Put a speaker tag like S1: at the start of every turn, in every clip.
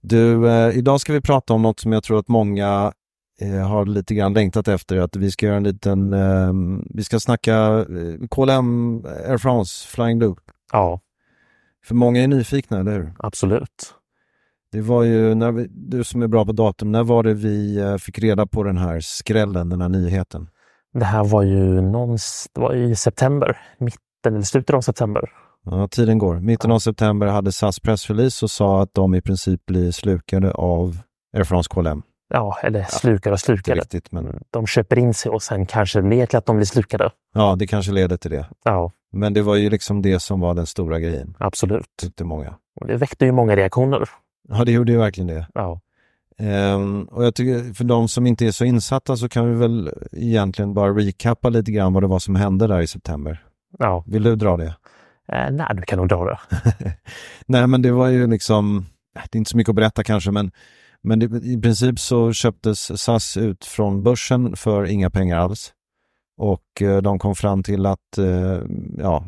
S1: Du, eh, idag ska vi prata om något som jag tror att många eh, har lite grann längtat efter. Att vi ska göra en liten, eh, vi ska snacka eh, KLM Air France Flying Loop.
S2: Ja,
S1: För många är nyfikna, eller hur?
S2: absolut.
S1: Det var ju, när vi, du som är bra på datum, när var det vi eh, fick reda på den här skrällen, den här nyheten?
S2: Det här var ju någonstans, det var i september, mitten eller slutet av september.
S1: Ja, tiden går. Mitten av september hade SAS pressrelease och sa att de i princip blir slukade av Air France KLM.
S2: Ja, eller slukade och
S1: Inte
S2: slukade.
S1: riktigt, men
S2: De köper in sig och sen kanske det leder till att de blir slukade.
S1: ja, det kanske leder till det.
S2: Ja,
S1: Men det var ju liksom det som var den stora grejen,
S2: absolut.
S1: tyckte många.
S2: Och det väckte ju många reaktioner.
S1: Ja, det gjorde ju verkligen det.
S2: Ja,
S1: Ehm, och jag tycker, för de som inte är så insatta så kan vi väl egentligen bara recappa lite grann vad det var som hände där i september.
S2: ja.
S1: Vill du dra det?
S2: Eh, nej, du kan nog dra det.
S1: Nej, men det var ju liksom, det är inte så mycket att berätta kanske, men, men det, i princip så köptes SAS ut från börsen för inga pengar alls. Och eh, de kom fram till att eh, ja,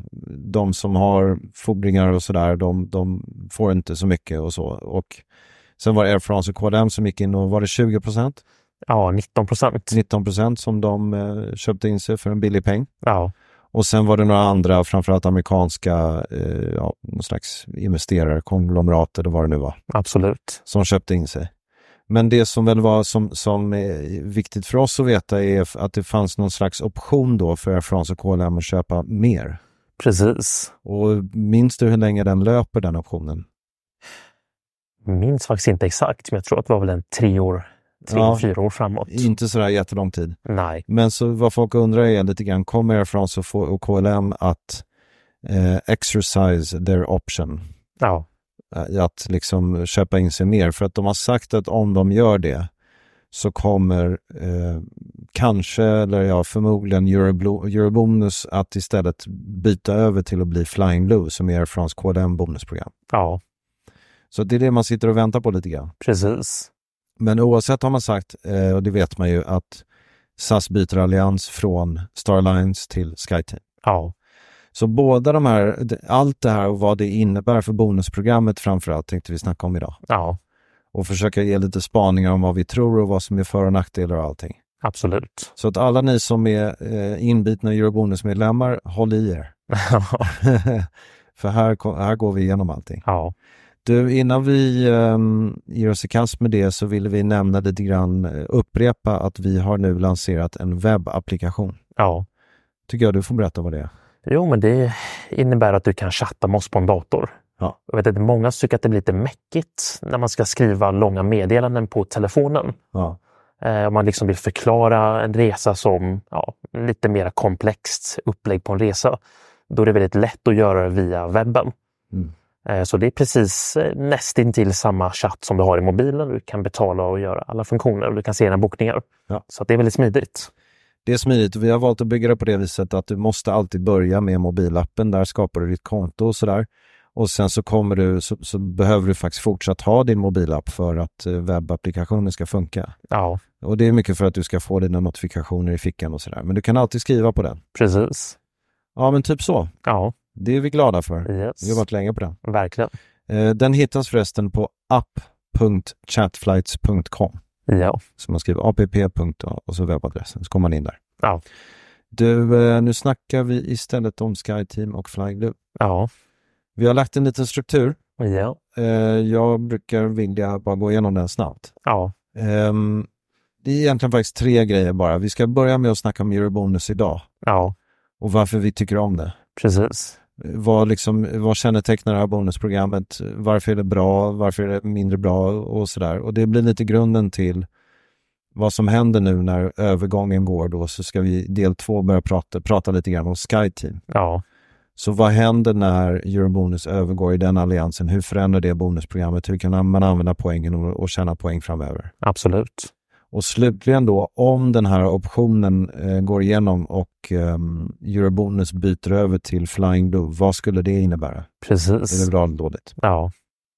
S1: de som har fordringar och sådär, de, de får inte så mycket och så. Och sen var det Air France och KLM som gick in och var det 20 procent,
S2: Ja, 19 procent.
S1: 19 procent som de eh, köpte in sig för en billig peng.
S2: Ja,
S1: Och sen var det några andra, framförallt amerikanska, eh, ja, någon slags investerare, konglomerat eller vad det nu var
S2: absolut.
S1: som köpte in sig. Men det som väl var som, som är viktigt för oss att veta är f- att det fanns någon slags option då för Air France och KLM att köpa mer.
S2: Precis.
S1: Och minns du hur länge den löper, den optionen?
S2: Minns faktiskt inte exakt, men jag tror att det var väl en tre år, tre,
S1: Ja.
S2: fyra år framåt.
S1: Inte sådär jättelång tid.
S2: Nej,
S1: Men så vad folk undrar är lite grann, kommer Air France och, få- och KLM att eh, exercise their option?
S2: ja,
S1: Eh, Att liksom köpa in sig mer? För att de har sagt att om de gör det så kommer eh, kanske, eller ja, förmodligen Euroblo- Eurobonus att istället byta över till att bli Flying Blue som är Air France KLM bonusprogram.
S2: ja,
S1: Så det är det man sitter och väntar på lite grann.
S2: precis.
S1: Men oavsett har man sagt, eh, och det vet man ju, att SAS byter allians från Starlines till SkyTeam.
S2: Ja,
S1: Så båda de här, allt det här och vad det innebär för bonusprogrammet framförallt tänkte vi snacka om idag.
S2: ja,
S1: Och försöka ge lite spaningar om vad vi tror och vad som är för och nackdelar och allting.
S2: absolut.
S1: Så att alla ni som är eh, inbitna Eurobonusmedlemmar, håll i er. För här, ko- här går vi igenom allting.
S2: ja,
S1: Du, innan vi eh, ger oss i kast med det så ville vi nämna lite grann, eh, upprepa att vi har nu lanserat en webbapplikation.
S2: ja.
S1: Tycker jag du får berätta vad det är.
S2: Jo, men det innebär att du kan chatta med oss på en dator.
S1: Ja.
S2: Jag vet att många tycker att det blir lite mäckigt när man ska skriva långa meddelanden på telefonen.
S1: Ja,
S2: Eh, om man liksom vill förklara en resa som ja, lite mer komplext upplägg på en resa. Då är det väldigt lätt att göra det via webben.
S1: Mm.
S2: Eh, så det är precis eh, nästintill samma chatt som du har i mobilen. Du kan betala och göra alla funktioner och du kan se dina bokningar.
S1: Ja.
S2: Så att det är väldigt smidigt.
S1: det är smidigt och vi har valt att bygga det på det viset att du måste alltid börja med mobilappen. Där skapar du ditt konto och sådär. Och sen så, kommer du, så, så behöver du faktiskt fortsatt ha din mobilapp för att eh, webbapplikationen ska funka.
S2: Ja,
S1: Och det är mycket för att du ska få dina notifikationer i fickan och sådär. Men du kan alltid skriva på den.
S2: precis.
S1: Ja, men typ så.
S2: Ja,
S1: Det är vi glada för. Vi har
S2: yes.
S1: varit länge på den.
S2: Verkligen.
S1: Eh, Den hittas förresten på app.chatflights.com.
S2: Ja,
S1: Så man skriver app. och så webbadressen, så kommer man in där.
S2: ja,
S1: Du, eh, nu snackar vi istället om SkyTeam och FlyGlue.
S2: ja,
S1: Vi har lagt en liten struktur.
S2: ja,
S1: Eh, Jag brukar vilja bara gå igenom den snabbt.
S2: ja,
S1: Ehm, Det är egentligen faktiskt tre grejer bara. Vi ska börja med att snacka om Eurobonus idag
S2: ja,
S1: och varför vi tycker om det.
S2: precis.
S1: Vad, liksom, vad kännetecknar det här bonusprogrammet? Varför är det bra? Varför är det mindre bra? Och sådär. Och det blir lite grunden till vad som händer nu när övergången går då så ska vi i del två börja prata, prata lite grann om SkyTeam.
S2: Ja,
S1: Så vad händer när Eurobonus övergår i den alliansen? Hur förändrar det bonusprogrammet? Hur kan man använda poängen och, och tjäna poäng framöver?
S2: absolut.
S1: Och slutligen då, om den här optionen eh, går igenom och eh, Eurobonus byter över till Flying Blue, vad skulle det innebära? Är det
S2: Precis.
S1: bra eller dåligt?
S2: Ja,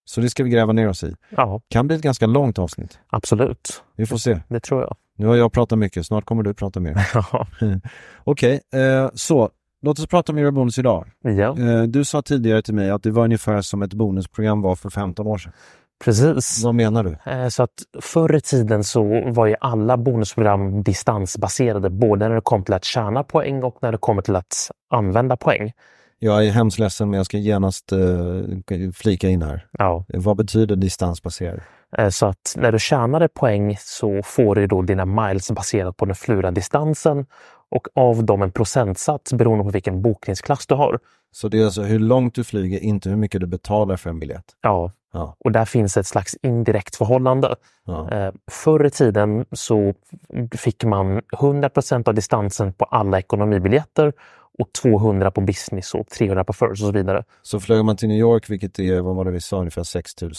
S1: Så det ska vi gräva ner oss i.
S2: ja,
S1: Kan bli ett ganska långt avsnitt.
S2: absolut.
S1: Vi får se.
S2: Det tror jag.
S1: Nu har jag pratat mycket, snart kommer du prata mer.
S2: Ja,
S1: Okej, eh, så låt oss prata om Eurobonus idag.
S2: ja,
S1: Eh, du sa tidigare till mig att det var ungefär som ett bonusprogram var för 15 år sedan.
S2: precis.
S1: Vad menar du?
S2: Eh, Så att förr i tiden så var ju alla bonusprogram distansbaserade, både när det kom till att tjäna poäng och när det kommer till att använda poäng.
S1: Jag är hemskt ledsen men jag ska genast eh, flika in här.
S2: Ja.
S1: Eh, Vad betyder distansbaserad?
S2: Eh, Så att när du tjänade poäng så får du då dina miles baserat på den flugna distansen och av dem en procentsats beroende på vilken bokningsklass du har.
S1: Så det är alltså hur långt du flyger, inte hur mycket du betalar för en biljett.
S2: Ja,
S1: Ja,
S2: och där finns ett slags indirekt förhållande.
S1: ja.
S2: Eh, Förr i tiden så fick man 100 av distansen på alla ekonomibiljetter och 200 på business och 300 på first och så vidare.
S1: Så flög man till New York, vilket är, vad var det vi sa, ungefär 6 000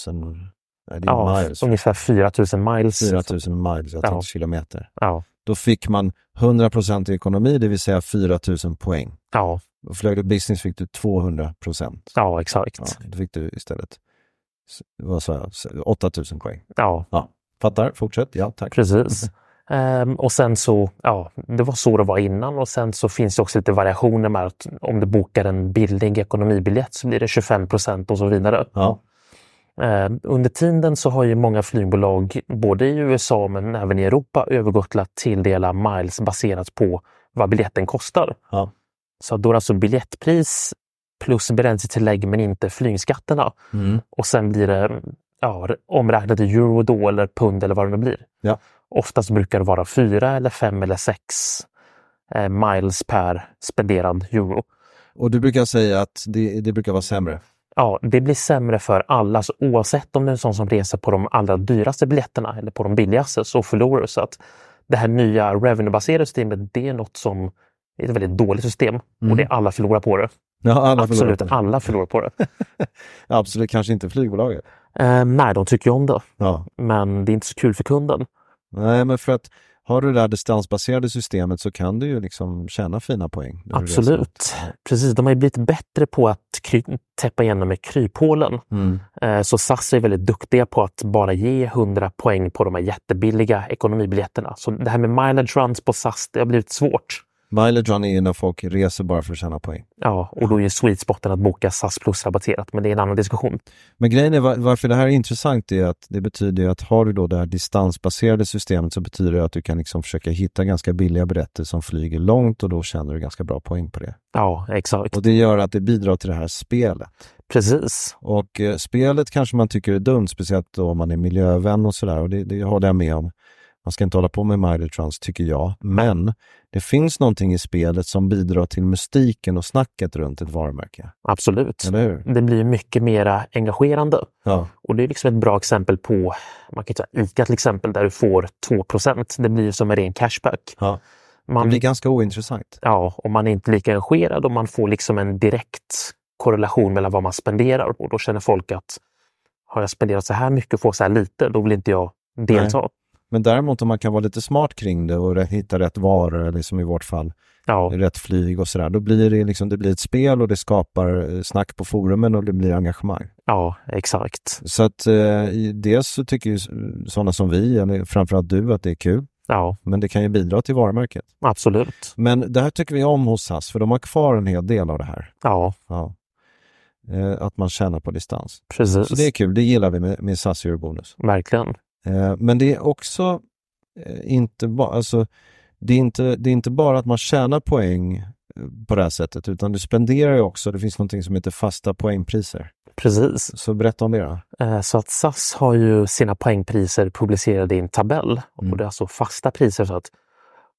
S1: nej, det är
S2: Ja,
S1: miles.
S2: ungefär 4000 miles.
S1: 4 000 miles, jag
S2: Ja.
S1: tänkte kilometer.
S2: Ja,
S1: Då fick man 100 procent i ekonomi, det vill säga 4 000 poäng.
S2: ja,
S1: Och flög du business fick du 200 procent.
S2: ja exakt.
S1: Ja,
S2: Ja.
S1: då fick du istället s- vad sa jag, S- 8 000 poäng.
S2: Ja,
S1: Ja, fattar, fortsätt. Ja, tack.
S2: precis.
S1: Mm.
S2: Ehm, och sen så, ja, det var så det var innan och sen så finns det också lite variationer med att om du bokar en billig ekonomibiljett så blir det 25 och så vidare.
S1: Ja,
S2: Eh, Under tiden så har ju många flygbolag, både i USA men även i Europa, övergått till att tilldela miles baserat på vad biljetten kostar.
S1: ja,
S2: Så då är det alltså biljettpris plus bränsletillägg men inte flygskatterna.
S1: Mm.
S2: Och sen blir det ja, omräknat i euro då eller pund eller vad det nu blir.
S1: Ja.
S2: Oftast brukar det vara fyra eller fem eller sex eh, miles per spenderad euro.
S1: och du brukar säga att det, det brukar vara sämre.
S2: Ja, det blir sämre för alla. Så oavsett om det är en sån som reser på de allra dyraste biljetterna eller på de billigaste så förlorar du. Så att det här nya revenue-baserade systemet, det är något som det är ett väldigt dåligt system och det är alla förlorar på det.
S1: Ja, Mm. alla förlorar
S2: Absolut,
S1: på det.
S2: alla förlorar på det.
S1: Absolut, kanske inte flygbolaget.
S2: Eh, nej, de tycker ju om det,
S1: Ja.
S2: men det är inte så kul för kunden.
S1: Nej, men för att har du det där distansbaserade systemet så kan du ju liksom tjäna fina poäng. när du reser.
S2: Absolut. Precis, de har ju blivit bättre på att kry- täppa igenom med kryphålen.
S1: Mm.
S2: Eh, Så SAS är väldigt duktiga på att bara ge 100 poäng på de här jättebilliga ekonomibiljetterna. Så det här med mileage runs på SAS, det har blivit svårt.
S1: Mileage run är ju när folk reser bara för att tjäna poäng.
S2: Ja, och då är ju sweet spoten att boka SAS plus rabatterat, men det är en annan diskussion.
S1: Men grejen är var- varför det här är intressant är att det betyder ju att har du då det här distansbaserade systemet så betyder det att du kan liksom försöka hitta ganska billiga biljetter som flyger långt och då tjänar du ganska bra poäng på det.
S2: Ja, exakt.
S1: Och det gör att det bidrar till det här spelet.
S2: Precis.
S1: Och eh, spelet kanske man tycker är dumt, speciellt då om man är miljövän och sådär och det, det håller jag med om. Man ska inte hålla på med mileage runs tycker jag, men det finns någonting i spelet som bidrar till mystiken och snacket runt ett varumärke.
S2: Absolut.
S1: Eller hur?
S2: Det blir ju mycket mera engagerande.
S1: Ja.
S2: Och det är liksom ett bra exempel på, man kan ju ta ICA till exempel, där du får 2 Det blir ju som en ren cashback.
S1: ja. Det
S2: Man,
S1: blir ganska ointressant.
S2: ja, och man är inte lika engagerad och man får liksom en direkt korrelation mellan vad man spenderar och då känner folk att har jag spenderat så här mycket och får så här lite, då vill inte jag delta.
S1: Men däremot om man kan vara lite smart kring det och re- hitta rätt varor, eller som i vårt fall,
S2: Ja,
S1: rätt flyg och sådär, då blir det, liksom, det blir ett spel och det skapar eh, snack på forumen och det blir engagemang.
S2: ja exakt.
S1: Så att eh, i- dels så tycker ju sådana som vi, eller framförallt du, att det är kul,
S2: Ja,
S1: men det kan ju bidra till varumärket.
S2: absolut.
S1: Men det här tycker vi om hos SAS, för de har kvar en hel del av det här.
S2: Ja,
S1: Ja. Eh, att man tjänar på distans.
S2: precis.
S1: Så det är kul, det gillar vi med, med SAS Eurobonus.
S2: Verkligen.
S1: Eh, men det är också eh, inte, ba, alltså, det är inte, det är inte bara att man tjänar poäng eh, på det här sättet, utan du spenderar ju också, det finns någonting som heter fasta poängpriser.
S2: Precis.
S1: Så berätta om det då.
S2: Eh, Så att SAS har ju sina poängpriser publicerade i en tabell.
S1: Mm.
S2: Och det är alltså fasta priser. så att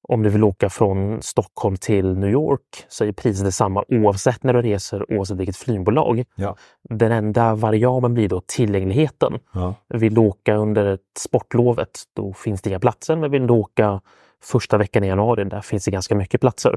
S2: Om du vill åka från Stockholm till New York så är priset detsamma oavsett när du reser, oavsett vilket flygbolag.
S1: Ja.
S2: Den enda variabeln blir då tillgängligheten.
S1: Ja.
S2: Vill du åka under ett sportlovet, då finns det inga platser. Men vill du åka första veckan i januari, där finns det ganska mycket platser.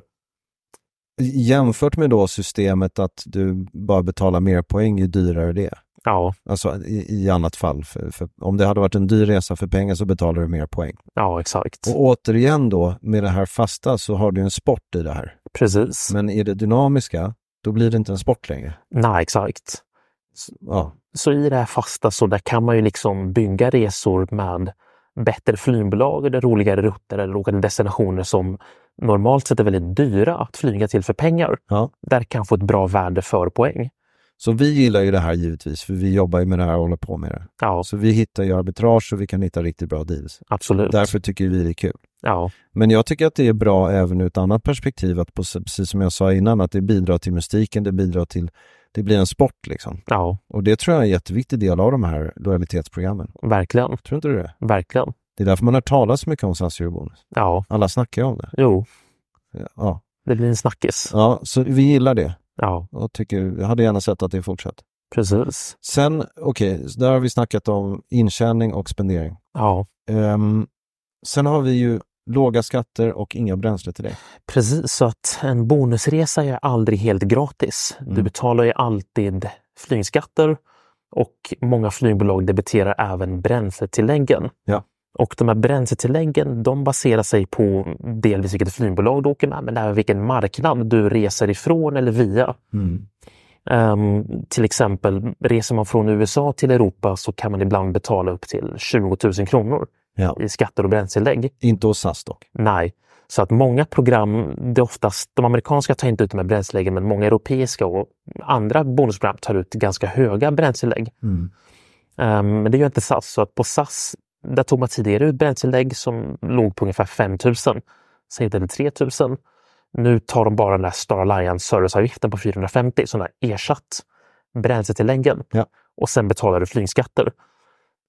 S1: Jämfört med då systemet att du bara betalar mer poäng, ju dyrare det är.
S2: Ja,
S1: Alltså i, i annat fall, för, för, om det hade varit en dyr resa för pengar så betalar du mer poäng.
S2: ja exakt.
S1: Och återigen då, med det här fasta så har du en sport i det här.
S2: Precis.
S1: Men i det dynamiska, då blir det inte en sport längre.
S2: Nej, exakt.
S1: Ja,
S2: Så i det här fasta så där kan man ju liksom bygga resor med bättre flygbolag eller roligare rutter eller åka till destinationer som normalt sett är väldigt dyra att flyga till för pengar.
S1: ja.
S2: Där kan få ett bra värde för poäng.
S1: Så vi gillar ju det här givetvis, för vi jobbar ju med det här och håller på med det.
S2: Ja,
S1: Så vi hittar ju arbitrage och vi kan hitta riktigt bra deals.
S2: absolut.
S1: Därför tycker vi det är kul.
S2: Ja,
S1: Men jag tycker att det är bra även ur ett annat perspektiv, att på, precis som jag sa innan, att det bidrar till mystiken, det bidrar till, det blir en sport liksom.
S2: ja,
S1: Och det tror jag är en jätteviktig del av de här lojalitetsprogrammen.
S2: verkligen.
S1: Tror inte du det?
S2: Verkligen.
S1: Det är därför man har talat så mycket om SAS Eurobonus.
S2: Ja,
S1: Alla snackar ju om det.
S2: jo,
S1: Ja.
S2: det blir en snackis.
S1: ja, så vi gillar det
S2: Ja,
S1: och tycker, jag hade gärna sett att det fortsatt.
S2: precis.
S1: Sen, okej, så där har vi snackat om intjäning och spendering.
S2: Ja,
S1: Ehm, sen har vi ju låga skatter och inga bränsle till dig.
S2: precis. Så att en bonusresa är aldrig helt gratis. Du
S1: Mm.
S2: betalar ju alltid flygskatter och många flygbolag debiterar även bränsletilläggen.
S1: Ja.
S2: Och de här bränsletilläggen de baserar sig på delvis vilket flygbolag du åker med men även vilken marknad du reser ifrån eller via.
S1: Mm.
S2: Ehm, till exempel reser man från USA till Europa så kan man ibland betala upp till 20 000 kronor
S1: Ja.
S2: i skatter och bränsletillägg.
S1: Inte hos SAS dock.
S2: Nej. Så att många program, det är oftast, de amerikanska tar inte ut de här bränsleläggen men många europeiska och andra bonusprogram tar ut ganska höga bränslelägg. Ehm, men det gör inte SAS. Så att på SAS, där tog man tidigare ut bränslelägg som låg på ungefär 5 000, säg inte 3 000. Nu tar de bara den där Star Alliance serviceavgiften på 450 som har ersatt bränsletilläggen.
S1: Ja.
S2: Och sen betalar du flygskatter.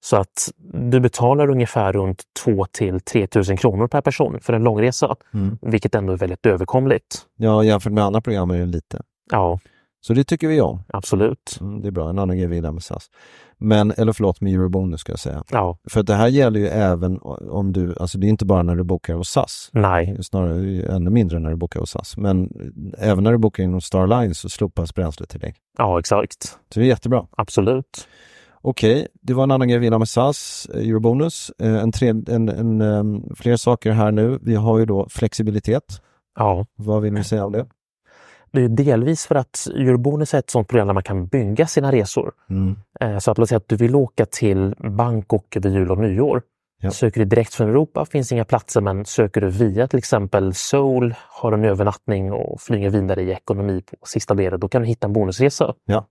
S2: Så att du betalar ungefär runt 2 till 3 000 kronor per person för en långresa, vilket ändå är väldigt överkomligt.
S1: Ja, jämfört med andra program är det lite.
S2: Ja,
S1: Så det tycker vi om.
S2: absolut.
S1: Mm, det är bra, en annan grej vi gillar med SAS. Men, eller förlåt, med Eurobonus ska jag säga.
S2: Ja,
S1: För att det här gäller ju även om du, alltså det är inte bara när du bokar hos SAS.
S2: nej,
S1: Snarare ännu mindre när du bokar hos SAS. Men eh, även när du bokar inom Starlines så slopas bränsletillägg.
S2: ja exakt.
S1: Så det är jättebra.
S2: Absolut.
S1: Okej, det var en annan grej vi gillar med SAS, eh, Eurobonus. Eh, En tre, en, en, eh, fler saker här nu. Vi har ju då flexibilitet.
S2: Ja,
S1: Vad vill ni säga om det?
S2: det är delvis för att Eurobonus är ett sånt program där man kan bygga sina resor.
S1: Mm.
S2: Eh, Så att låt säga att du vill åka till Bangkok över jul och nyår.
S1: Ja.
S2: Söker du direkt från Europa finns inga platser men söker du via till exempel Seoul, har en övernattning och flyger vidare i ekonomi på sista ledet, då kan du hitta en bonusresa.
S1: Ja.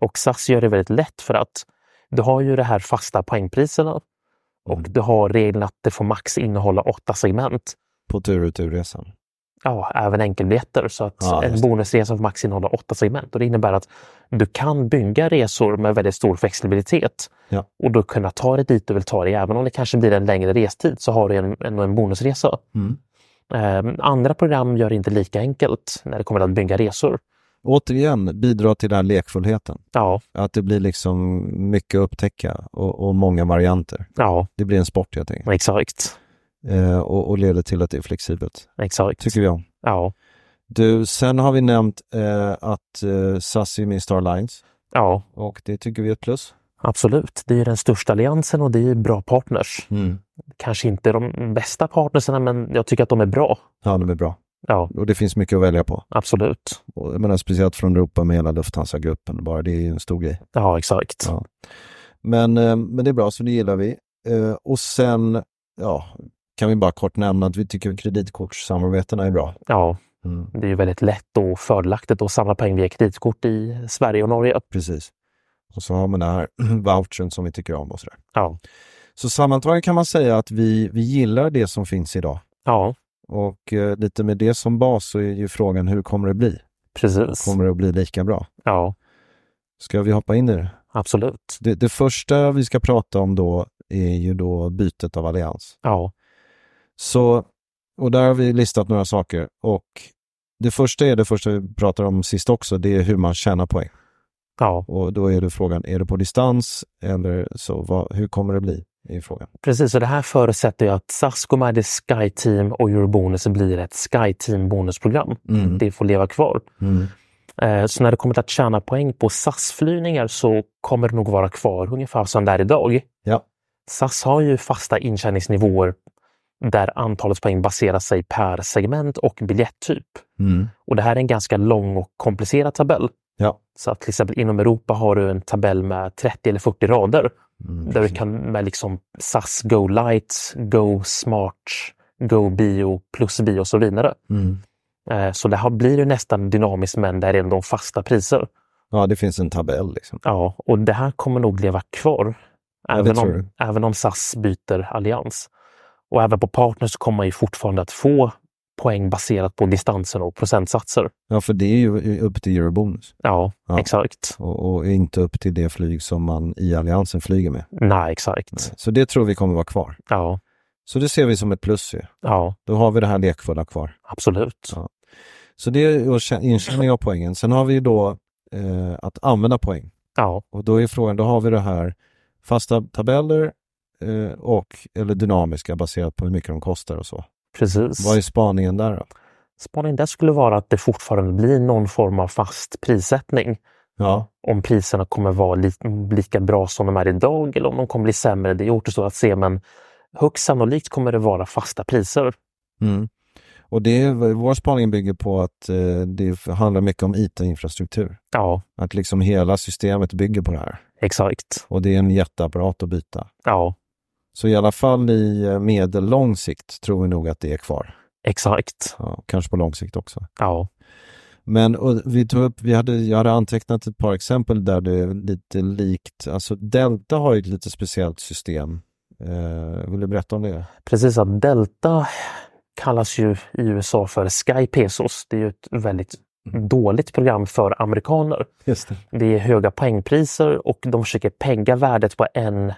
S2: Och SAS gör det väldigt lätt för att du har ju det här fasta poängpriserna och
S1: Mm.
S2: du har regeln att det får max innehålla åtta segment.
S1: På tur och turresan.
S2: Ja, även enkelbiljetter. Så att
S1: Ja,
S2: en
S1: just det.
S2: bonusresa får max innehålla åtta segment. Och det innebär att du kan bygga resor med väldigt stor flexibilitet.
S1: Ja.
S2: Och då kunna ta dig dit du vill ta dig. Även om det kanske blir en längre restid så har du en, en, en bonusresa.
S1: Mm.
S2: Ehm, andra program gör det inte lika enkelt när det kommer till att bygga resor.
S1: Återigen, bidra till den här lekfullheten.
S2: Ja,
S1: Att det blir liksom mycket att upptäcka och, och många varianter.
S2: ja
S1: Det blir en sport helt enkelt.
S2: exakt.
S1: Eh, och, och leder till att det är flexibelt.
S2: Exakt.
S1: Tycker vi om.
S2: Ja,
S1: Du, sen har vi nämnt eh, att eh, SAS är med i Starlines.
S2: ja,
S1: Och det tycker vi är ett plus.
S2: Absolut, det är ju den största alliansen och det är ju bra partners.
S1: Mm.
S2: Kanske inte de bästa partnerserna, men jag tycker att de är bra.
S1: Ja, de är bra.
S2: Ja,
S1: Och det finns mycket att välja på.
S2: absolut.
S1: Och jag menar, speciellt från Europa med hela Lufthansa-gruppen. Bara det är ju en stor grej.
S2: Ja, exakt.
S1: Ja. Men, eh, men det är bra, så det gillar vi. Eh, Och sen ja, kan vi bara kort nämna att vi tycker att kreditkortssamarbetena är bra.
S2: Ja,
S1: Mm.
S2: det är ju väldigt lätt och fördelaktigt att samla poäng via kreditkort i Sverige och Norge.
S1: Precis. Och så har man den här vouchern som vi tycker om och sådär.
S2: Ja,
S1: Så sammantaget kan man säga att vi, vi gillar det som finns idag.
S2: ja
S1: Och eh, lite med det som bas så är ju frågan hur kommer det bli?
S2: precis.
S1: Kommer det att bli lika bra?
S2: Ja,
S1: Ska vi hoppa in i det?
S2: absolut.
S1: Det, det första vi ska prata om då är ju då bytet av allians.
S2: Ja,
S1: Så, och där har vi listat några saker. Och det första är det första vi pratade om sist också, det är hur man tjänar poäng.
S2: ja,
S1: Och då är det frågan, är det på distans eller så? Vad, hur kommer det bli? Är frågan.
S2: precis. Och det här förutsätter ju att SAS går med i Sky Team och Eurobonus blir ett Sky Team bonusprogram.
S1: Mm.
S2: Det får leva kvar.
S1: Mm.
S2: Eh, Så när det kommer till att tjäna poäng på SAS-flygningar så kommer det nog vara kvar ungefär som det är idag.
S1: Ja.
S2: SAS har ju fasta intjäningsnivåer där antalet poäng baserar sig per segment och biljettyp.
S1: Mm.
S2: Och det här är en ganska lång och komplicerad tabell.
S1: Ja.
S2: Så att till exempel inom Europa har du en tabell med 30 eller 40 rader
S1: Mm.
S2: där du kan med liksom SAS Go Light, Go Smart, Go Bio, Plus Bio och så vidare.
S1: Mm.
S2: Eh, Så det här blir ju nästan dynamiskt men där är det ändå fasta priser.
S1: Ja, det finns en tabell. Liksom.
S2: Ja, och det här kommer nog leva kvar.
S1: det
S2: Även,
S1: tror
S2: om, även om SAS byter allians. Och även på partners kommer man ju fortfarande att få poäng baserat på distansen och procentsatser.
S1: Ja, för det är ju upp till eurobonus
S2: Ja,
S1: Ja.
S2: exakt.
S1: och, och inte upp till det flyg som man i alliansen flyger med.
S2: Nej, exakt.
S1: Så det tror vi kommer vara kvar.
S2: Ja,
S1: Så det ser vi som ett plus ju.
S2: ja,
S1: Då har vi det här lekfulla kvar.
S2: absolut.
S1: Ja. Så det är att tjä- intjäning av poängen. Sen har vi ju då eh, att använda poäng.
S2: Ja,
S1: Och då är frågan, då har vi det här fasta tabeller eh, och, eller dynamiska baserat på hur mycket de kostar och så.
S2: precis.
S1: Vad är spaningen där då?
S2: Spaningen där skulle vara att det fortfarande blir någon form av fast prissättning.
S1: Ja,
S2: Om priserna kommer vara li lika bra som de är idag eller om de kommer bli sämre, det återstår att se. Men högst sannolikt kommer det vara fasta priser.
S1: Mm. Och det, är- vår spaning bygger på att eh, det handlar mycket om IT-infrastruktur.
S2: Ja,
S1: Att liksom hela systemet bygger på det här.
S2: exakt.
S1: Och det är en jätteapparat att byta.
S2: Ja,
S1: Så i alla fall i eh, medellång sikt tror vi nog att det är kvar.
S2: exakt.
S1: Ja, kanske på lång sikt också.
S2: Ja,
S1: Men och vi tog upp, vi hade, jag hade antecknat ett par exempel där det är lite likt. Alltså Delta har ju ett lite speciellt system. Eh, vill du berätta om det?
S2: precis. Att Delta kallas ju i USA för Sky Pesos. Det är ju ett väldigt
S1: Mm.
S2: dåligt program för amerikaner.
S1: Just det.
S2: Det är höga poängpriser och de försöker pegga värdet på en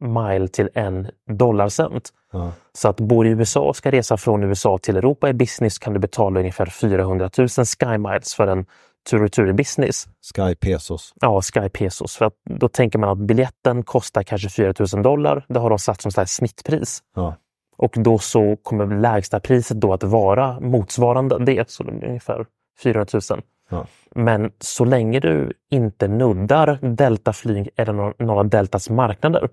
S2: mile till en dollarcent.
S1: Ja.
S2: Så att bor i USA och ska resa från USA till Europa i business kan du betala ungefär 400 000 Sky Miles för en tur-retur i business.
S1: Sky Pesos.
S2: Ja, Sky Pesos. För att då tänker man att biljetten kostar kanske 4 000 dollar. Det har de satt som så här snittpris.
S1: Ja.
S2: Och då så kommer lägsta priset då att vara motsvarande det, så det är ungefär 400 000.
S1: Ja.
S2: Men så länge du inte nuddar Deltaflyg eller nå- någon av Deltas marknader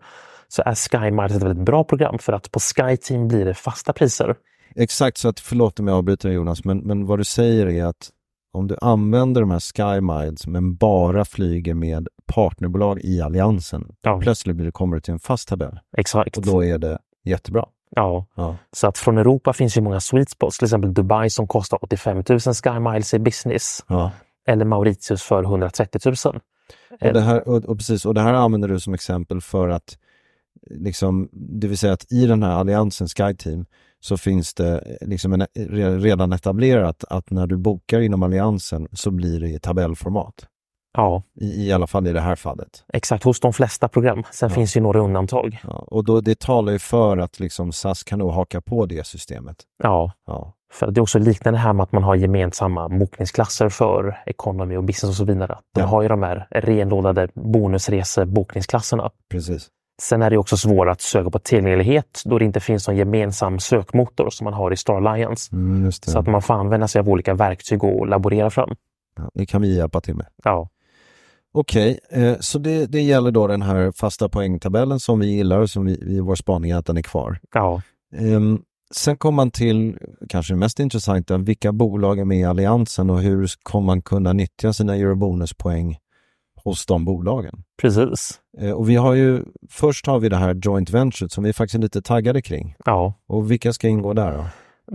S2: så är Sky Miles ett väldigt bra program för att på Sky Team blir det fasta priser.
S1: Exakt, så att, förlåt om jag avbryter Jonas, men, men vad du säger är att om du använder de här Sky Miles men bara flyger med partnerbolag i alliansen,
S2: Ja.
S1: plötsligt blir det, kommer du till en fast tabell
S2: Exakt.
S1: och då är det jättebra.
S2: Ja.
S1: Ja.
S2: Så att från Europa finns ju många sweet spots, till exempel Dubai som kostar 85 000 Sky Miles i business
S1: Ja.
S2: eller Mauritius för 130 000.
S1: Och det, här, och, och, precis, och det här använder du som exempel för att, liksom, det vill säga att i den här alliansen Sky Team så finns det eh, liksom en, re- redan etablerat att när du bokar inom alliansen så blir det i tabellformat.
S2: Ja,
S1: I, I alla fall i det här fallet.
S2: exakt. Hos de flesta program. Sen
S1: Ja.
S2: finns ju några undantag.
S1: Ja, och då, det talar ju för att liksom SAS kan nog haka på det systemet.
S2: Ja,
S1: Ja,
S2: För det är också liknande här med att man har gemensamma bokningsklasser för economy och business och så vidare. De
S1: Ja.
S2: har ju de här renodlade bonusresebokningsklasserna.
S1: precis.
S2: Sen är det ju också svårt att söka på tillgänglighet då det inte finns någon gemensam sökmotor som man har i Star Alliance.
S1: Mm, just det.
S2: Så att man får använda sig av olika verktyg och laborera fram.
S1: ja, det kan vi hjälpa till med.
S2: Ja,
S1: Okej, eh, så det, det gäller då den här fasta poängtabellen som vi gillar och som vi, vi vår spaning är att den är kvar.
S2: Ja,
S1: Ehm, sen kommer man till kanske det mest intressanta, vilka bolag är med i alliansen och hur kommer man kunna nyttja sina eurobonuspoäng hos de bolagen?
S2: precis.
S1: Eh, och vi har ju, först har vi det här joint venture som vi faktiskt är lite taggade kring.
S2: Ja,
S1: Och vilka ska ingå där då?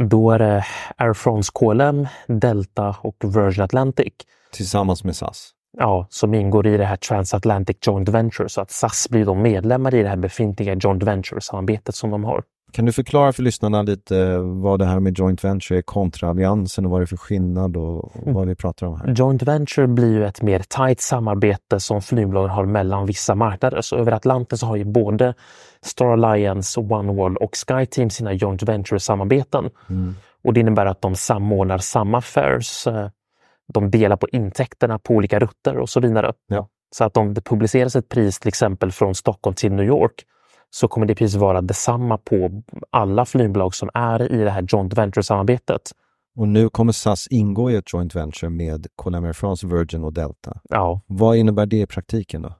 S2: då är det Air France KLM, Delta och Virgin Atlantic.
S1: Tillsammans med SAS.
S2: Ja, som ingår i det här Transatlantic Joint Venture så att SAS blir då medlemmar i det här befintliga Joint Venture-samarbetet som de har.
S1: Kan du förklara för lyssnarna lite eh, vad det här med joint venture är kontra alliansen och vad det är för skillnad och och vad vi pratar om här?
S2: Joint Venture blir ju ett mer tajt samarbete som flygbolagen har mellan vissa marknader. Så över Atlanten så har ju både Star Alliance, Oneworld och SkyTeam sina Joint Venture-samarbeten. Och det innebär att de samordnar samma fares. eh, De delar på intäkterna på olika rutter och så vidare.
S1: Ja.
S2: Så att om det publiceras ett pris till exempel från Stockholm till New York så kommer det priset vara detsamma på alla flygbolag som är i det här Joint Venture-samarbetet.
S1: Och nu kommer SAS ingå i ett joint venture med Colombia France, Virgin och Delta.
S2: Ja,
S1: Vad innebär det i praktiken då?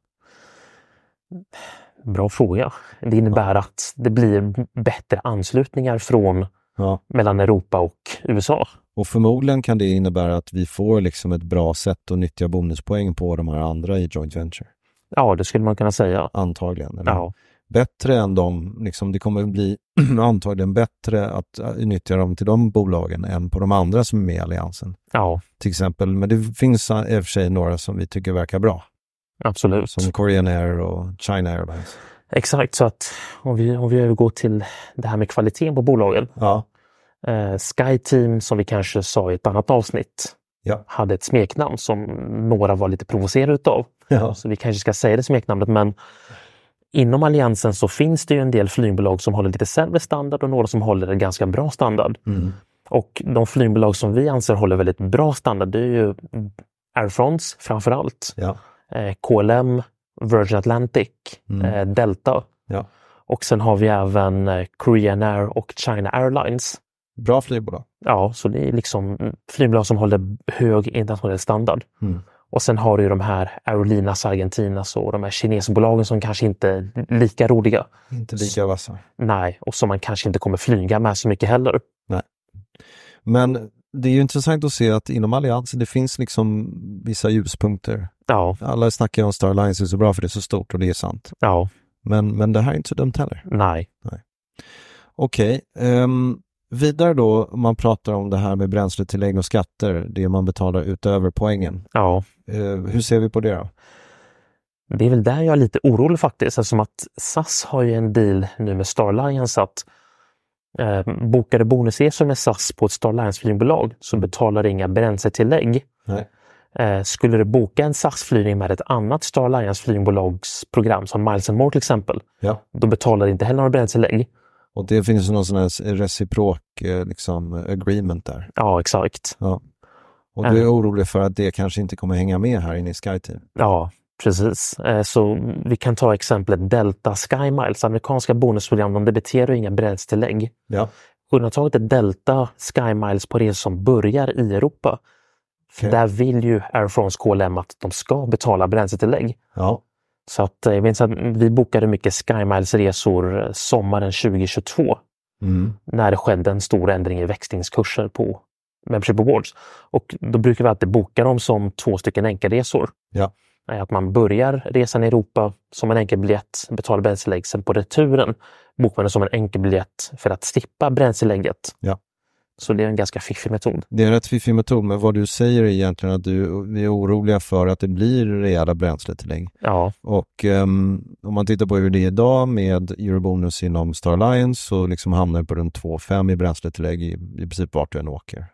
S2: Bra fråga. Det innebär att det blir bättre anslutningar från
S1: Ja.
S2: mellan Europa och USA.
S1: Och förmodligen kan det innebära att vi får liksom ett bra sätt att nyttja bonuspoäng på de här andra i joint venture.
S2: Ja, det skulle man kunna säga.
S1: Antagligen. eller?
S2: Ja,
S1: Bättre än de, liksom, det kommer bli antagligen bättre att äh, nyttja dem till de bolagen än på de andra som är med i alliansen.
S2: ja
S1: till exempel. Men det finns äh, i och för sig några som vi tycker verkar bra,
S2: absolut.
S1: som Korean Air och China Airlines.
S2: Exakt, så att om vi, om vi övergår till det här med kvaliteten på bolagen.
S1: Ja,
S2: Eh, SkyTeam, som vi kanske sa i ett annat avsnitt,
S1: ja,
S2: hade ett smeknamn som några var lite provocerade utav.
S1: ja.
S2: Så vi kanske ska säga det smeknamnet, men inom alliansen så finns det ju en del flygbolag som håller lite sämre standard och några som håller en ganska bra standard.
S1: Mm.
S2: Och de flygbolag som vi anser håller väldigt bra standard, det är ju Air France framför allt,
S1: ja. Mm.
S2: eh, KLM, Virgin Atlantic, eh, Delta
S1: ja.
S2: och sen har vi även eh, Korean Air och China Airlines.
S1: Bra flygbolag.
S2: Ja, så det är liksom flygbolag som håller hög internationell standard. Och sen har du ju de här Aerolinas Argentinas och de här kinesbolagen som kanske inte är lika roliga.
S1: Inte lika vassa.
S2: Nej, och som man kanske inte kommer flyga med så mycket heller.
S1: Men det är ju intressant att se att inom alliansen, det finns liksom vissa ljuspunkter.
S2: Ja,
S1: Alla snackar ju om Star Alliance är så bra för det är så stort och det är sant.
S2: ja,
S1: Men, men det här är inte så dumt heller.
S2: nej,
S1: Okej, ehm, vidare då, om man pratar om det här med bränsletillägg och skatter, det man betalar utöver poängen.
S2: ja.
S1: Eh, hur ser vi på det då?
S2: Det är väl där jag är lite orolig faktiskt eftersom att SAS har ju en deal nu med Star Alliance att eh, bokar du bonusresor med SAS på ett Star Alliance-flygbolag så betalar du inga bränsletillägg.
S1: Nej.
S2: Eh, skulle du boka en SAS-flygning med ett annat Star Alliance-flygbolags program som Miles and More till exempel,
S1: Ja.
S2: då betalar du inte heller några bränsletillägg.
S1: Och det finns ju någon sån här reciprok eh, liksom, agreement där.
S2: Ja, exakt.
S1: Ja. Och du är orolig för att det kanske inte kommer hänga med här inne i SkyTeam.
S2: Ja, precis. Eh, Så vi kan ta exemplet Delta Sky Miles, amerikanska bonusprogram, de debiterar ju inga bränsletillägg.
S1: Ja.
S2: Undantaget är Delta Sky Miles på resor som börjar i Europa. För
S1: Okej.
S2: Där vill ju Air France KLM att de ska betala bränsletillägg.
S1: ja.
S2: Så att, eh, jag minns att vi bokade mycket Sky Miles-resor eh, sommaren 2022
S1: Mm.
S2: när det skedde en stor ändring i växlingskurser på Membership Awards. Och då brukar vi alltid boka dem som två stycken enkelresor.
S1: Ja.
S2: Eh, Att man börjar resan i Europa som en enkelbiljett, betalar bränslelägg. Sen på returen bokar man den som en enkelbiljett för att slippa bränslelägget.
S1: Ja.
S2: Så det är en ganska fiffig metod.
S1: Det är en rätt fiffig metod, men vad du säger är egentligen att du, vi är oroliga för att det blir rejäla bränsletillägg.
S2: Ja,
S1: Och ehm, om man tittar på hur det är idag med eurobonus inom Star Alliance så liksom hamnar det på runt 2,5 i bränsletillägg i, i princip vart du än åker.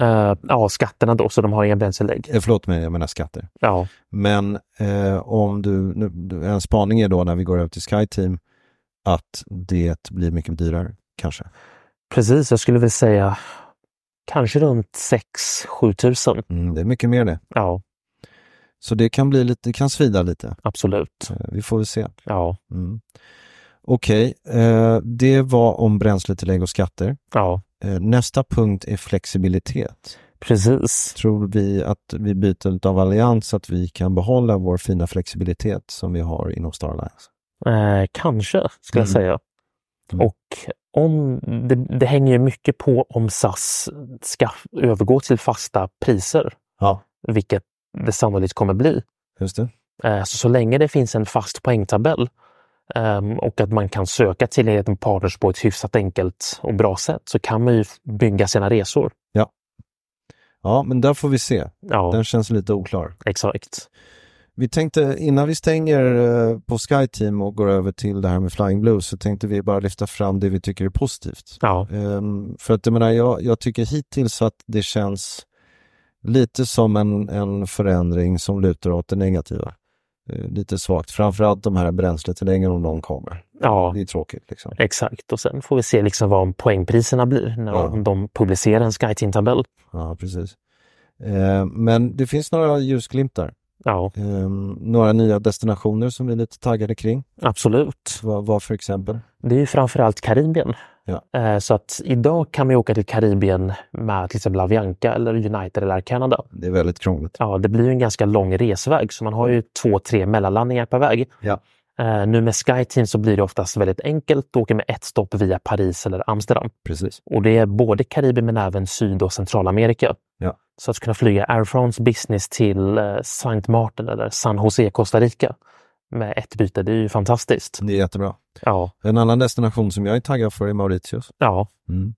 S2: Eh, ja skatterna då, så de har inga bränslelägg.
S1: Eh, förlåt mig, jag menar skatter.
S2: Ja,
S1: Men eh, om du, nu, du- en spaning är då när vi går över till SkyTeam att det blir mycket dyrare kanske.
S2: precis. Jag skulle väl säga kanske runt 6-7 tusen.
S1: Mm, det är mycket mer det.
S2: Ja,
S1: Så det kan bli lite, det kan svida lite.
S2: absolut.
S1: Eh, vi får väl se.
S2: Ja,
S1: Mm. Okej, eh, det var om bränsletillägg och skatter.
S2: ja.
S1: Eh, nästa punkt är flexibilitet.
S2: Precis.
S1: Tror vi att vi byter av allians att vi kan behålla vår fina flexibilitet som vi har inom Star Alliance?
S2: Eh, kanske, skulle jag
S1: Mm.
S2: säga.
S1: Mm.
S2: Och om, det, det hänger ju mycket på om SAS ska övergå till fasta priser,
S1: Ja.
S2: vilket det sannolikt kommer bli.
S1: Just det.
S2: Eh, Så, så länge det finns en fast poängtabell ehm, och att man kan söka till en partners på ett hyfsat enkelt och bra sätt så kan man ju f- bygga sina resor.
S1: Ja, men där får vi se.
S2: Ja,
S1: Den känns lite oklar.
S2: exakt.
S1: Vi tänkte innan vi stänger eh, på SkyTeam och går över till det här med Flying Blues så tänkte vi bara lyfta fram det vi tycker är positivt.
S2: Ja,
S1: Ehm, för att jag menar, jag, jag tycker hittills att det känns lite som en, en förändring som lutar åt det negativa. Eh, lite svagt, framförallt de här bränsletilläggen om de kommer.
S2: ja
S1: Det är tråkigt liksom.
S2: exakt. Och sen får vi se liksom vad poängpriserna blir när
S1: Ja.
S2: de, de publicerar en SkyTeam-tabell.
S1: Ja, precis. Eh, men det finns några ljusglimtar.
S2: Ja,
S1: Ehm, några nya destinationer som vi är lite taggade kring.
S2: absolut.
S1: Vad, vad för exempel?
S2: Det är ju framförallt Karibien.
S1: Ja.
S2: Eh, Så att idag kan man ju åka till Karibien med till exempel Avianca eller United eller Air Canada.
S1: Det är väldigt krångligt.
S2: Ja, det blir ju en ganska lång resväg så man har ju två, tre mellanlandningar per väg.
S1: Ja.
S2: Eh, nu med SkyTeam så blir det oftast väldigt enkelt att åka med ett stopp via Paris eller Amsterdam.
S1: Precis.
S2: Och det är både Karibien men även Syd och Centralamerika.
S1: Ja.
S2: Så att kunna flyga Air France Business till eh, Saint Martin eller San Jose, Costa Rica med ett byte, det är ju fantastiskt.
S1: Det är jättebra.
S2: Ja,
S1: En annan destination som jag är taggad för är Mauritius.
S2: ja
S1: Mm.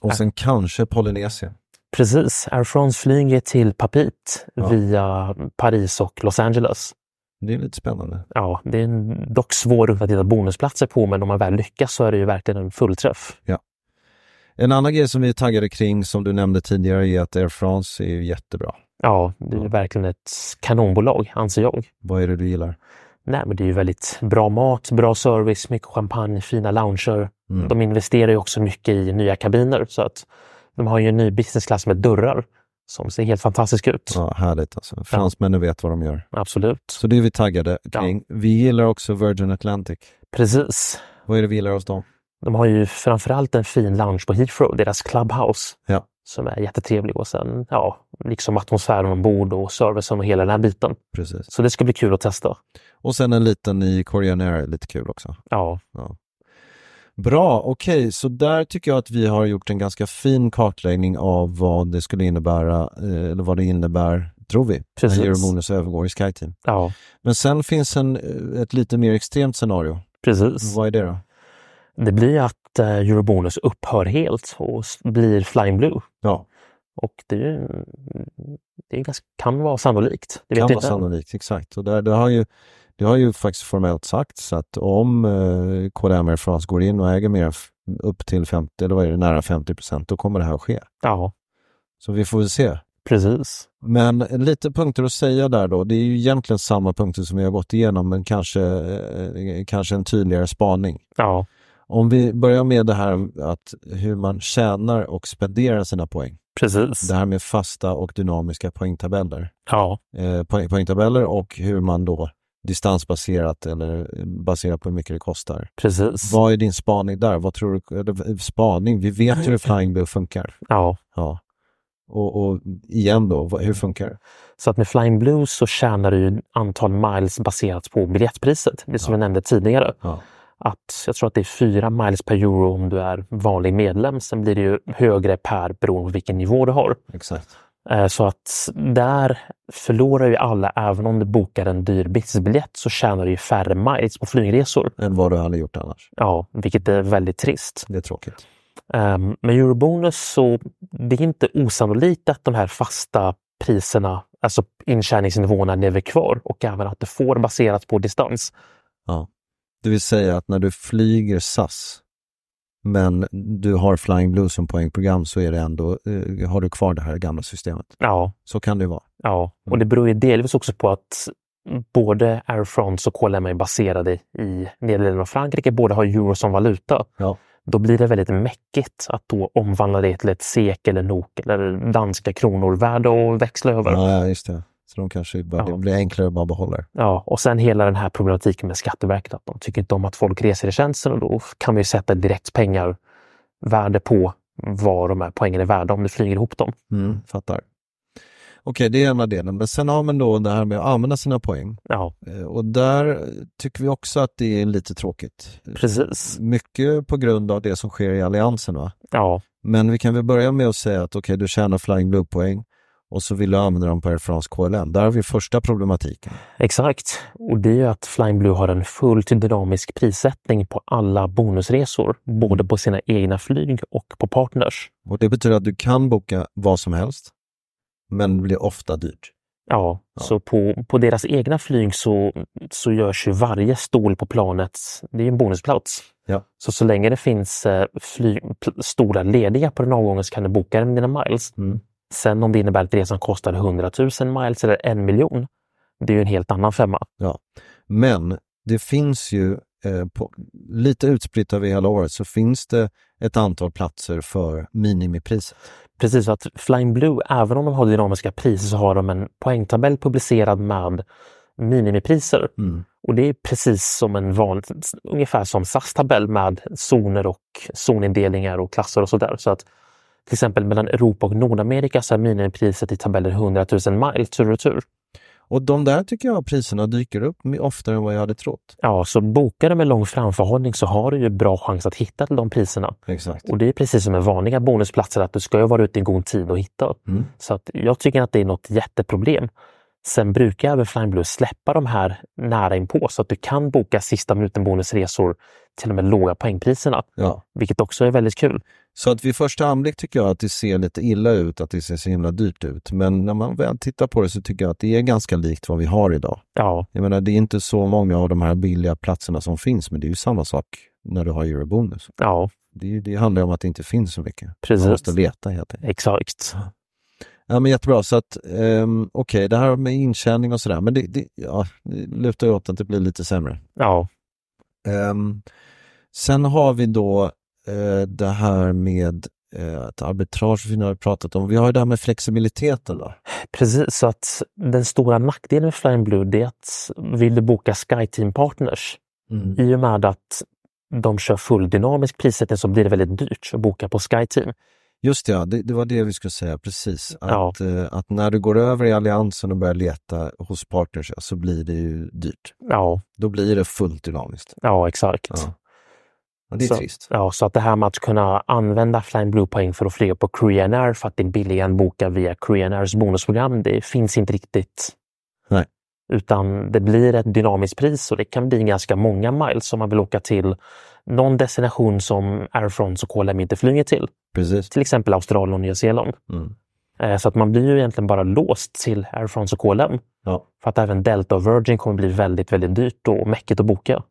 S1: Och sen kanske Polynesien.
S2: precis. Air France flyger till Papeete
S1: Ja.
S2: via Paris och Los Angeles.
S1: Det är lite spännande.
S2: Ja, det är en- dock svårt att hitta bonusplatser på, men om man väl lyckas så är det ju verkligen en fullträff.
S1: En annan grej som vi är taggade kring som du nämnde tidigare är att Air France är ju jättebra.
S2: Ja, det är ju verkligen ett kanonbolag, anser jag.
S1: Vad är det du gillar?
S2: Nej, men det är ju väldigt bra mat, bra service, mycket champagne, fina lounger.
S1: Mm.
S2: De investerar ju också mycket i nya kabiner, så att de har ju en ny businessklass med dörrar som ser helt fantastisk ut.
S1: Ja, härligt alltså. Fransmännen vet vad de gör.
S2: Absolut.
S1: Så det är vi taggade kring. Vi gillar också Virgin Atlantic.
S2: Precis.
S1: Vad är det vi gillar hos dem?
S2: De har ju framförallt en fin lounge på Heathrow, deras clubhouse,
S1: Ja.
S2: som är jättetrevlig och sen ja, liksom atmosfären ombord och servicen och hela den här biten.
S1: Precis.
S2: Så det ska bli kul att testa.
S1: Och sen en liten i Korean Air, är lite kul också.
S2: Ja,
S1: Bra, okej, så där tycker jag att vi har gjort en ganska fin kartläggning av vad det skulle innebära, eh, eller vad det innebär, tror vi,
S2: Precis.
S1: när Euromonius övergår i SkyTeam.
S2: ja
S1: Men sen finns en, eh, ett lite mer extremt scenario.
S2: precis.
S1: Vad är det då?
S2: Det blir ju att eh, Eurobonus upphör helt och s- blir Flying Blue.
S1: Ja,
S2: Och det, är ju, det är ganska, kan vara sannolikt. Det
S1: kan
S2: vet
S1: vara
S2: jag inte.
S1: sannolikt, exakt. Och där, det, har ju, det har ju faktiskt formellt sagts att om eh, KDM Air France går in och äger mer f- upp till 50, eller vad är det, nära 50 procent, då kommer det här att ske.
S2: Ja,
S1: Så vi får väl se.
S2: precis.
S1: Men lite punkter att säga där då. Det är ju egentligen samma punkter som vi har gått igenom men kanske, eh, kanske en tydligare spaning.
S2: Ja,
S1: Om vi börjar med det här att hur man tjänar och spenderar sina poäng.
S2: precis.
S1: Det här med fasta och dynamiska poängtabeller.
S2: Ja,
S1: Eh, poäng, poängtabeller och hur man då distansbaserat eller eh, baserat på hur mycket det kostar.
S2: precis.
S1: Vad är din spaning där? Vad tror du? Eller, eh, spaning? Vi vet hur Flying Blue funkar.
S2: Ja.
S1: Ja. Och, och igen då, vad- hur funkar det?
S2: Så att med Flying Blue så tjänar du ju antal miles baserat på biljettpriset. Det som jag nämnde tidigare.
S1: Ja.
S2: Att jag tror att det är fyra miles per euro om du är vanlig medlem. Sen blir det ju högre per beroende på vilken nivå du har.
S1: Exakt.
S2: Eh, Så att där förlorar ju alla, även om du bokar en dyr businessbiljett så tjänar du ju färre miles på flygresor.
S1: än vad du hade gjort annars.
S2: Ja, vilket är väldigt trist.
S1: Det är tråkigt.
S2: Eh, Med eurobonus så det är inte osannolikt att de här fasta priserna, alltså intjäningsnivåerna lever kvar och även att du får baserat på distans.
S1: Det vill säga att när du flyger SAS men du har Flying Blue som poängprogram så är det ändå, eh, har du kvar det här gamla systemet.
S2: Ja,
S1: Så kan det ju vara.
S2: ja. och det beror ju delvis också på att både Air France och KLM är baserade i Nederländerna och Frankrike, båda har euro som valuta.
S1: Ja.
S2: då blir det väldigt mäckigt att då omvandla det till ett SEK eller NOK eller danska kronor värda och växla över. Ja.
S1: Ja, just det. Så de kanske bara,
S2: Ja.
S1: det blir enklare att bara behålla det.
S2: och sen hela den här problematiken med Skatteverket, att de tycker inte om att folk reser i tjänsten och då kan vi ju sätta direkt pengar värde på vad de här poängen är värda om du flyger ihop dem.
S1: Mm, fattar. Okej, det är ena delen. Men sen har man då det här med att använda sina poäng.
S2: Ja,
S1: Eh, Och där tycker vi också att det är lite tråkigt.
S2: precis.
S1: Mycket på grund av det som sker i alliansen. Va?
S2: Ja,
S1: Men vi kan väl börja med att säga att okej, du tjänar Flying Blue-poäng och så vill du använda dem på Air France KLM. Där har vi första problematiken.
S2: exakt. Och det är ju att Flying Blue har en fullt dynamisk prissättning på alla bonusresor,
S1: Mm.
S2: både på sina egna flyg och på partners.
S1: Och det betyder att du kan boka vad som helst, men det blir ofta dyrt.
S2: Ja,
S1: Ja.
S2: så på, på deras egna flyg så, så görs ju varje stol på planet, det är ju en bonusplats.
S1: Ja.
S2: Så så länge det finns eh, fly, pl- stolar lediga på den avgången så kan du boka den med dina miles.
S1: Mm.
S2: Sen om det innebär att resan kostar 100 000 miles eller en miljon, det är ju en helt annan femma.
S1: Men det finns ju, eh, på, lite utspritt över hela året, så finns det ett antal platser för minimipriset.
S2: Precis, så att Flying Blue, även om de har dynamiska priser så har de en poängtabell publicerad med minimipriser.
S1: Mm.
S2: Och det är precis som en vanlig, ungefär som SAS-tabell med zoner och zonindelningar och klasser och sådär. Så att till exempel mellan Europa och Nordamerika så är minimipriset i tabellen 100 000 mile tur och retur.
S1: Och de där tycker jag priserna dyker upp my- oftare än vad jag hade trott.
S2: Ja, så bokar du med lång framförhållning så har du ju bra chans att hitta till de priserna.
S1: Exakt.
S2: Och det är precis som med vanliga bonusplatser att du ska ju vara ute i god tid och hitta.
S1: Mm.
S2: Så att jag tycker att det är något jätteproblem. Sen brukar även Flying Blue släppa de här nära inpå så att du kan boka sista minuten bonusresor till och med låga poängpriserna,
S1: Ja.
S2: vilket också är väldigt kul.
S1: Så att vid första anblick tycker jag att det ser lite illa ut, att det ser så himla dyrt ut. Men när man väl tittar på det så tycker jag att det är ganska likt vad vi har idag.
S2: Ja,
S1: Jag menar, det är inte så många av de här billiga platserna som finns, men det är ju samma sak när du har eurobonus.
S2: ja,
S1: Det, är ju- det handlar ju om att det inte finns så mycket.
S2: precis.
S1: Man måste leta helt enkelt.
S2: Exakt.
S1: Ja, men jättebra. Så att, ehm, okej, det här med intjäning och sådär, men det, det, ja, det lutar ju åt att det blir lite sämre.
S2: Ja,
S1: Ehm, sen har vi då eh, det här med eh, att arbitrage, vi har pratat om. Vi har ju det här med flexibiliteten. Då.
S2: precis. Så att den stora nackdelen med Flying Blue det är att vill du boka SkyTeam Partners, i och med att de kör full dynamisk prissättning så blir det väldigt dyrt att boka på SkyTeam.
S1: Just det, ja, det, det var det vi skulle säga, precis.
S2: Ja.
S1: Att, eh, att när du går över i alliansen och börjar leta hos partners ja, så blir det ju dyrt.
S2: Ja,
S1: Då blir det fullt dynamiskt.
S2: ja exakt.
S1: Ja. Ja, det är
S2: så,
S1: trist.
S2: Ja, så att det här med att kunna använda Flying Blue-poäng för att flyga på Korean Air för att det är billigare än att boka via Korean Airs bonusprogram, det finns inte riktigt.
S1: Nej.
S2: Utan det blir ett dynamiskt pris och det kan bli ganska många miles om man vill åka till någon destination som Air France och KLM inte flyger till.
S1: Precis.
S2: Till exempel Australien och Nya Zeeland.
S1: Mm.
S2: Eh, Så att man blir ju egentligen bara låst till Air France och KLM.
S1: Ja.
S2: För att även Delta och Virgin kommer bli väldigt, väldigt dyrt och mäckigt att boka.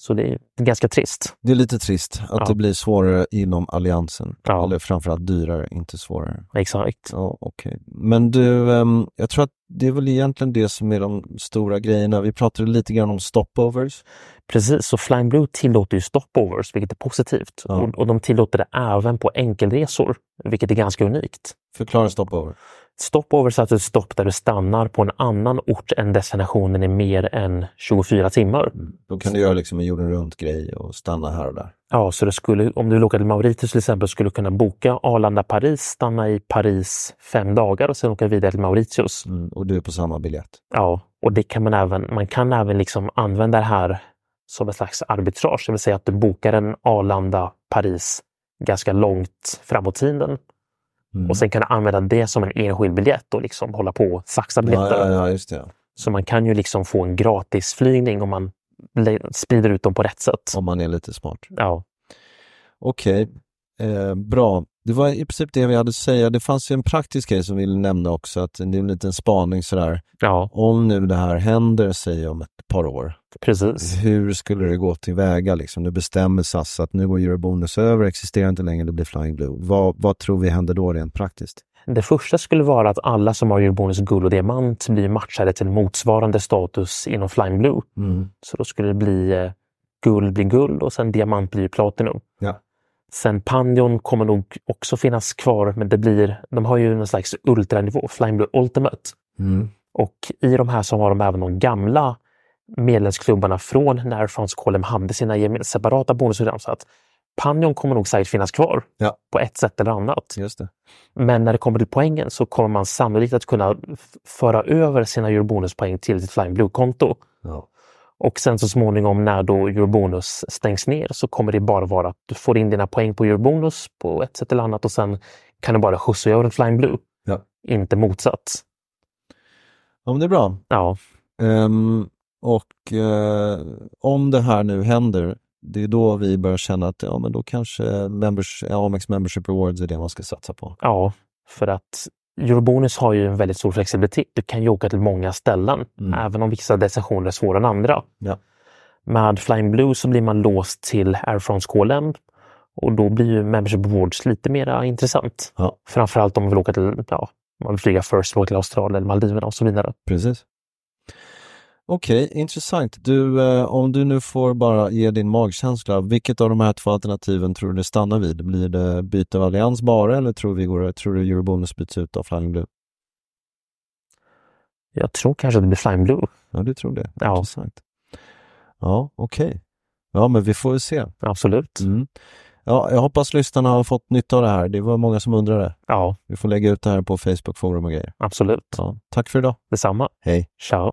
S2: Så det är ganska trist.
S1: Det är lite trist att
S2: Ja.
S1: det blir svårare inom alliansen.
S2: Ja.
S1: Eller framförallt dyrare, inte svårare.
S2: Exakt.
S1: Ja, okej. Men du, ehm, jag tror att det är väl egentligen det som är de stora grejerna. Vi pratade lite grann om stopovers.
S2: Precis, så Flying Blue tillåter ju stopovers, vilket är positivt.
S1: Ja.
S2: Och, och de tillåter det även på enkelresor, vilket är ganska unikt.
S1: Förklara stopover.
S2: Stopovers är alltså ett stopp där du stannar på en annan ort än destinationen i mer än 24 timmar.
S1: Då kan du göra liksom en jorden runt-grej och stanna här och där.
S2: Ja, så det skulle, om du vill åka till Mauritius till exempel skulle du kunna boka Arlanda-Paris, stanna i Paris fem dagar och sen åka vidare till Mauritius.
S1: Mm, och du är på samma biljett.
S2: Ja, och det kan man även, man kan även liksom använda det här som ett slags arbitrage, det vill säga att du bokar en Arlanda, Paris ganska långt framåt tiden
S1: Mm.
S2: och sen kan du använda det som en enskild biljett och liksom hålla på och saxa biljetter.
S1: ja, ja, ja, just det.
S2: Så man kan ju liksom få en gratisflygning om man le- sprider ut dem på rätt sätt.
S1: Om man är lite smart.
S2: Ja,
S1: Okej, eh, bra. Det var i princip det vi hade att säga. Det fanns ju en praktisk grej som vi ville nämna också, att det är en liten spaning sådär.
S2: ja
S1: Om nu det här händer, säg om ett par år,
S2: precis.
S1: Hur skulle det gå tillväga? Liksom? Nu bestämmer SAS att nu går Eurobonus över, existerar inte längre, det blir Flying Blue. Vad, vad tror vi händer då rent praktiskt?
S2: Det första skulle vara att alla som har Eurobonus guld och diamant blir matchade till motsvarande status inom Flying Blue.
S1: Mm.
S2: Så då skulle det bli eh, guld blir guld och sen diamant blir platinum.
S1: Ja.
S2: Sen Pandion kommer nog också finnas kvar, men det blir, de har ju någon slags ultranivå, Flying Blue Ultimate.
S1: Mm.
S2: Och i de här så har de även de gamla medlemsklubbarna från när Frans KLM hade sina gemen- separata bonusprogram. Så att Pannion kommer nog säkert finnas kvar
S1: Ja.
S2: på ett sätt eller annat.
S1: Just det.
S2: Men när det kommer till poängen så kommer man sannolikt att kunna f- föra över sina eurobonuspoäng till sitt Flying Blue-konto.
S1: Ja.
S2: Och sen så småningom när då Eurobonus stängs ner så kommer det bara vara att du får in dina poäng på Eurobonus på ett sätt eller annat och sen kan du bara skjutsa över en Flying Blue.
S1: Ja.
S2: Inte motsatt.
S1: ja, men det är bra.
S2: Ja,
S1: Ehm, och eh, om det här nu händer, det är då vi börjar känna att ja, men då kanske members, Amex Membership Rewards är det man ska satsa på.
S2: ja, för att Eurobonus har ju en väldigt stor flexibilitet. Du kan ju åka till många ställen,
S1: Mm.
S2: även om vissa destinationer är svårare än andra.
S1: Ja.
S2: Med Flying Blue så blir man låst till Air France KLM och då blir ju Membership Awards lite mer intressant.
S1: Ja.
S2: Framförallt om man vill åka till, ja, man vill flyga First World till Australien eller Maldiverna och så vidare.
S1: Precis. Okej, intressant. Du, eh, om du nu får bara ge din magkänsla, vilket av de här två alternativen tror du det stannar vid? Blir det byte av allians bara eller tror, vi går, tror du Eurobonus byts ut av Flying Blue?
S2: Jag tror kanske att det blir Flying Blue.
S1: Ja, du tror det.
S2: Ja.
S1: Intressant. Ja, okej. Ja, men vi får väl se.
S2: Absolut.
S1: Mm. Ja, jag hoppas lyssnarna har fått nytta av det här. Det var många som undrade.
S2: Ja,
S1: Vi får lägga ut det här på Facebook-forum och grejer.
S2: absolut.
S1: Ja, tack för idag.
S2: Detsamma.
S1: Hej!
S2: Ciao.